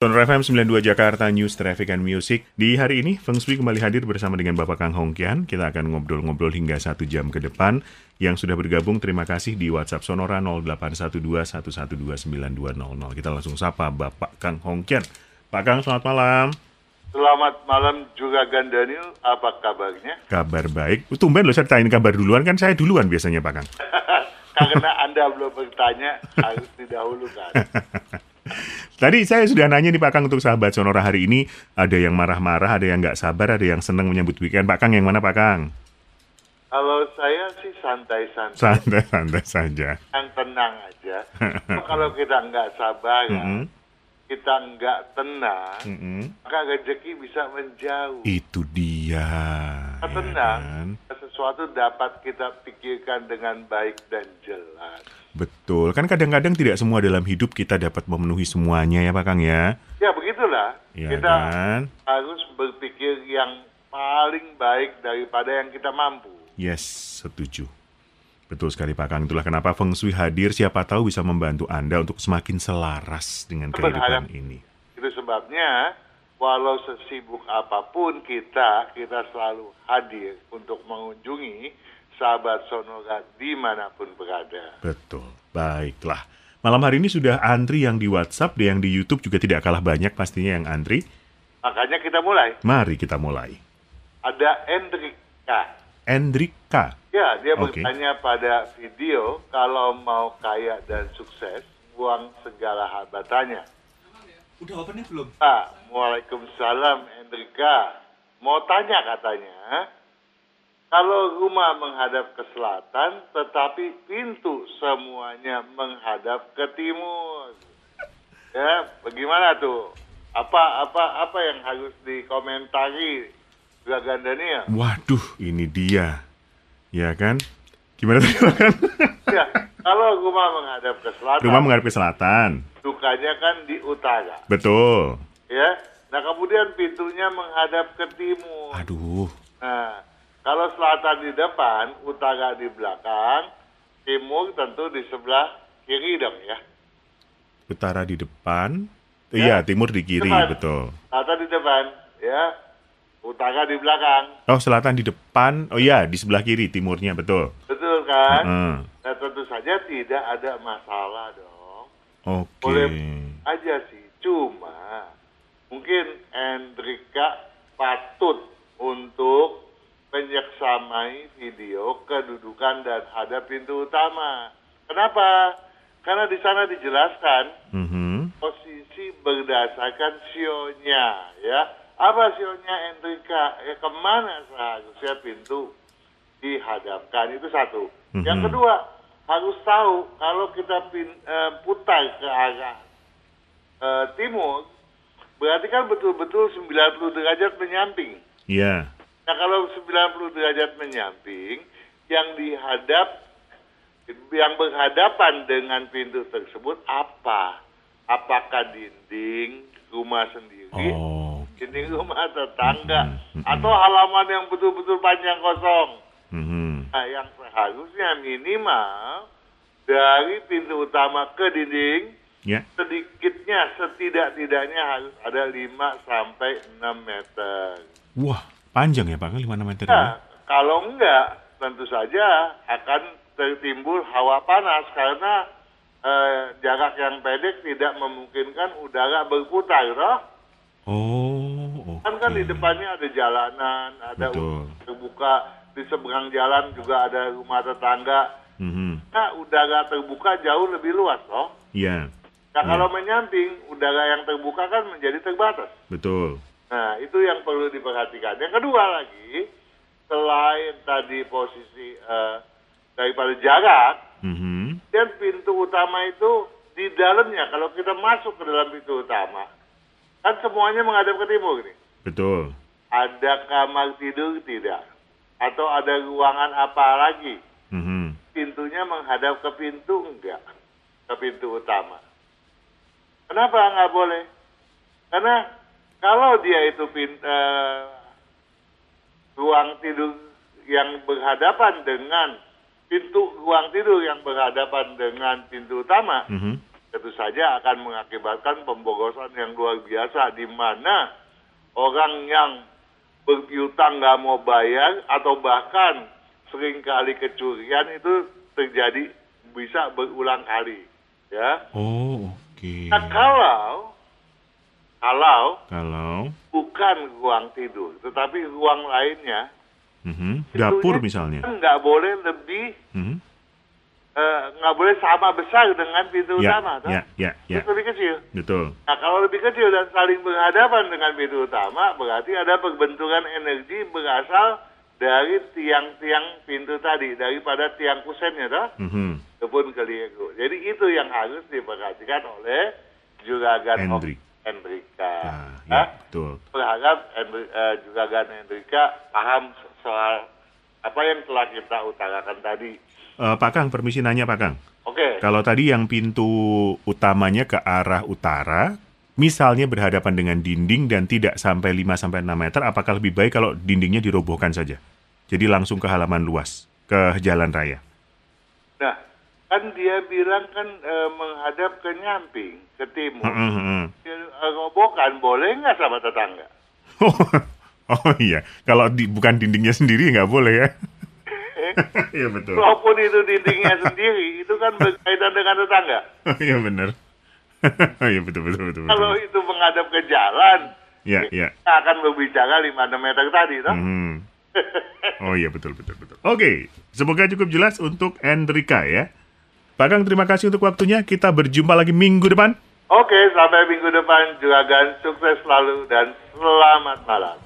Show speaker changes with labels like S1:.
S1: Sonora FM 92 Jakarta News Traffic and Music. Di hari ini, Feng Shui kembali hadir bersama dengan Bapak Kang Hongkian. Kita akan ngobrol-ngobrol hingga satu jam ke depan. Yang sudah bergabung, terima kasih di WhatsApp Sonora 0812-112-9200. Kita langsung sapa Bapak Kang Hongkian. Pak Kang, selamat malam.
S2: Selamat malam juga Gan Daniel, apa kabarnya?
S1: Kabar baik. Uh, Tumben loh, saya tanyain kabar duluan. Kan saya duluan biasanya, Pak Kang.
S2: Karena Anda belum bertanya, harus didahulukan.
S1: Tadi saya sudah nanya nih Pak Kang untuk sahabat Sonora hari ini ada yang marah-marah, ada yang nggak sabar, ada yang senang menyambut weekend. Pak Kang yang mana Pak Kang?
S2: Kalau saya sih santai-santai,
S1: Santai-santai saja.
S2: yang tenang aja. kalau kita nggak sabar, ya,
S1: Mm-mm.
S2: kita nggak tenang,
S1: Mm-mm.
S2: maka rezeki bisa menjauh.
S1: Itu dia. ya
S2: Kita tenang,
S1: Iya, kan?
S2: sesuatu dapat kita pikirkan dengan baik dan jelas.
S1: Betul. Kan kadang-kadang tidak semua dalam hidup kita dapat memenuhi semuanya ya Pak Kang ya.
S2: Ya begitulah,
S1: Ya
S2: kita
S1: kan?
S2: harus berpikir yang paling baik daripada yang kita mampu.
S1: Yes, setuju. Betul sekali Pak Kang. Itulah kenapa Feng Shui hadir. Siapa tahu bisa membantu Anda untuk semakin selaras dengan
S2: Berharap.
S1: kehidupan ini.
S2: Itu sebabnya walau sesibuk apapun kita, kita selalu hadir untuk mengunjungi sahabat Sonora dimanapun berada.
S1: Betul. Baiklah. Malam hari ini sudah antri yang di WhatsApp, dan yang di YouTube juga tidak kalah banyak pastinya yang antri.
S2: Makanya kita mulai.
S1: Mari kita mulai.
S2: Ada Endrika.
S1: Endrika.
S2: Ya, dia
S1: Oke.
S2: bertanya pada video kalau mau kaya dan sukses, buang segala hambatannya.
S3: Udah opennya belum?
S2: Ah, Waalaikumsalam Endrika. Mau tanya katanya, kalau rumah menghadap ke selatan, tetapi pintu semuanya menghadap ke timur. Ya, bagaimana tuh? Apa apa apa yang harus dikomentari Gagan Daniel?
S1: Waduh, ini dia. Ya kan? Gimana tadi Pak Kang?
S2: Ya, kalau rumah menghadap ke selatan,
S1: Rumah menghadap ke selatan.
S2: dukanya kan di utara,
S1: Betul.
S2: ya. Nah, kemudian pintunya menghadap ke timur.
S1: Aduh.
S2: Nah, kalau selatan di depan, utara di belakang, timur tentu di sebelah kiri dong ya.
S1: Utara di depan.
S2: Ya.
S1: Iya, timur di kiri,
S2: Depan.
S1: betul.
S2: Selatan di depan, ya. Utara di belakang,
S1: Oh, selatan di depan. Oh iya, di sebelah kiri timurnya, betul.
S2: betul kan?
S1: Heeh.
S2: Nah, tentu saja tidak ada masalah dong.
S1: Oke.
S2: Boleh aja sih, cuma mungkin Endrika patut untuk menyeksamai video kedudukan dan ada pintu utama. Kenapa? Karena di sana dijelaskan
S1: Mhm.
S2: posisi berdasarkan sionya ya apa sionya Enrika ya kemana seharusnya pintu dihadapkan itu satu
S1: Mhm.
S2: yang kedua harus tahu kalau kita pin, eh, putar ke arah eh, timur berarti kan betul-betul 90 derajat menyamping
S1: Iya.
S2: nah kalau 90 derajat menyamping yang dihadap yang berhadapan dengan pintu tersebut apa? Apakah dinding rumah sendiri,
S1: Oh.
S2: dinding rumah tetangga,
S1: Mm-mm, mm-mm.
S2: atau halaman yang betul-betul panjang kosong?
S1: Mhm.
S2: Nah, yang seharusnya minimal dari pintu utama ke dinding
S1: Ya.
S2: sedikitnya setidak-tidaknya harus ada 5 sampai 6 meter.
S1: Wah, panjang ya Pak, 5 meter ya?
S2: Nah, kalau enggak, tentu saja akan tertimbul hawa panas karena eh, jarak yang pendek tidak memungkinkan udara berputar, toh.
S1: Oh, oke.
S2: Kan kan di depannya ada jalanan, ada
S1: Betul.
S2: udara terbuka, di seberang jalan juga ada rumah tetangga.
S1: Mhm.
S2: Nah, udara terbuka jauh lebih luas, toh.
S1: Iya,
S2: Nah, kalau menyamping, udara yang terbuka kan menjadi terbatas.
S1: betul.
S2: Nah, itu yang perlu diperhatikan. Yang kedua lagi, selain tadi posisi eh, daripada jarak,
S1: Mhm.
S2: dan pintu utama itu di dalamnya, kalau kita masuk ke dalam pintu utama, kan semuanya menghadap ke timur nih.
S1: Betul.
S2: Ada kamar tidur tidak? Atau ada ruangan apa lagi?
S1: Mhm.
S2: Pintunya menghadap ke pintu enggak? Ke pintu utama. Kenapa nggak boleh? Karena kalau dia itu pin- eh, ruang tidur yang berhadapan dengan pintu ruang tidur yang berhadapan dengan pintu utama,
S1: Mhm.
S2: Itu saja akan mengakibatkan pembogosan yang luar biasa di mana orang yang berpiutang nggak mau bayar atau bahkan seringkali kecurian itu terjadi bisa berulang kali ya
S1: Oh, oke.
S2: nah, kalau kalau
S1: Kalau
S2: bukan ruang tidur tetapi ruang lainnya
S1: mhm, dapur
S2: tentunya
S1: misalnya.
S2: kan nggak boleh lebih
S1: Mhm.
S2: eh, nggak boleh sama besar dengan pintu
S1: Ya,
S2: utama toh?
S1: ya, ya, ya.
S2: Terus lebih kecil
S1: Betul.
S2: Nah, kalau lebih kecil dan saling berhadapan dengan pintu utama, berarti ada perbentukan energi berasal dari tiang-tiang pintu tadi, daripada tiang kusennya, toh,
S1: Mhm.
S2: kebun keliru. Jadi itu yang harus diperhatikan oleh juragan
S1: Hendrik.
S2: Om- Hendrika.
S1: Ah,
S2: Nah,
S1: ya, betul.
S2: berharap Hendri- eh, juragan Hendrika paham soal apa yang telah kita utarakan tadi.
S1: Eh, Pak Kang, permisi nanya Pak Kang.
S2: Oke,
S1: Kalau tadi yang pintu utamanya ke arah utara, misalnya berhadapan dengan dinding dan tidak sampai 5 sampai 6 meter, apakah lebih baik kalau dindingnya dirobohkan saja? Jadi langsung ke halaman luas, ke jalan raya.
S2: nah kan dia bilang kan eh, menghadap ke nyamping, ke timur.
S1: Heeh, heeh.
S2: Eh, robokan boleh nggak sama tetangga?
S1: Oh, oh iya, kalau di, bukan dindingnya sendiri nggak boleh ya? Iya betul.
S2: Walaupun itu dindingnya sendiri, itu kan berkaitan dengan tetangga.
S1: Iya benar. Iya betul betul betul. betul.
S2: Kalau itu menghadap ke jalan,
S1: Ya ya.
S2: kita akan berbicara 5 meter tadi, toh?
S1: Hmm. Oh iya betul betul betul. Oke, semoga cukup jelas untuk Enrika ya. Pak Kang terima kasih untuk waktunya. Kita berjumpa lagi minggu depan.
S2: Oke, sampai minggu depan, juragan sukses selalu dan selamat malam.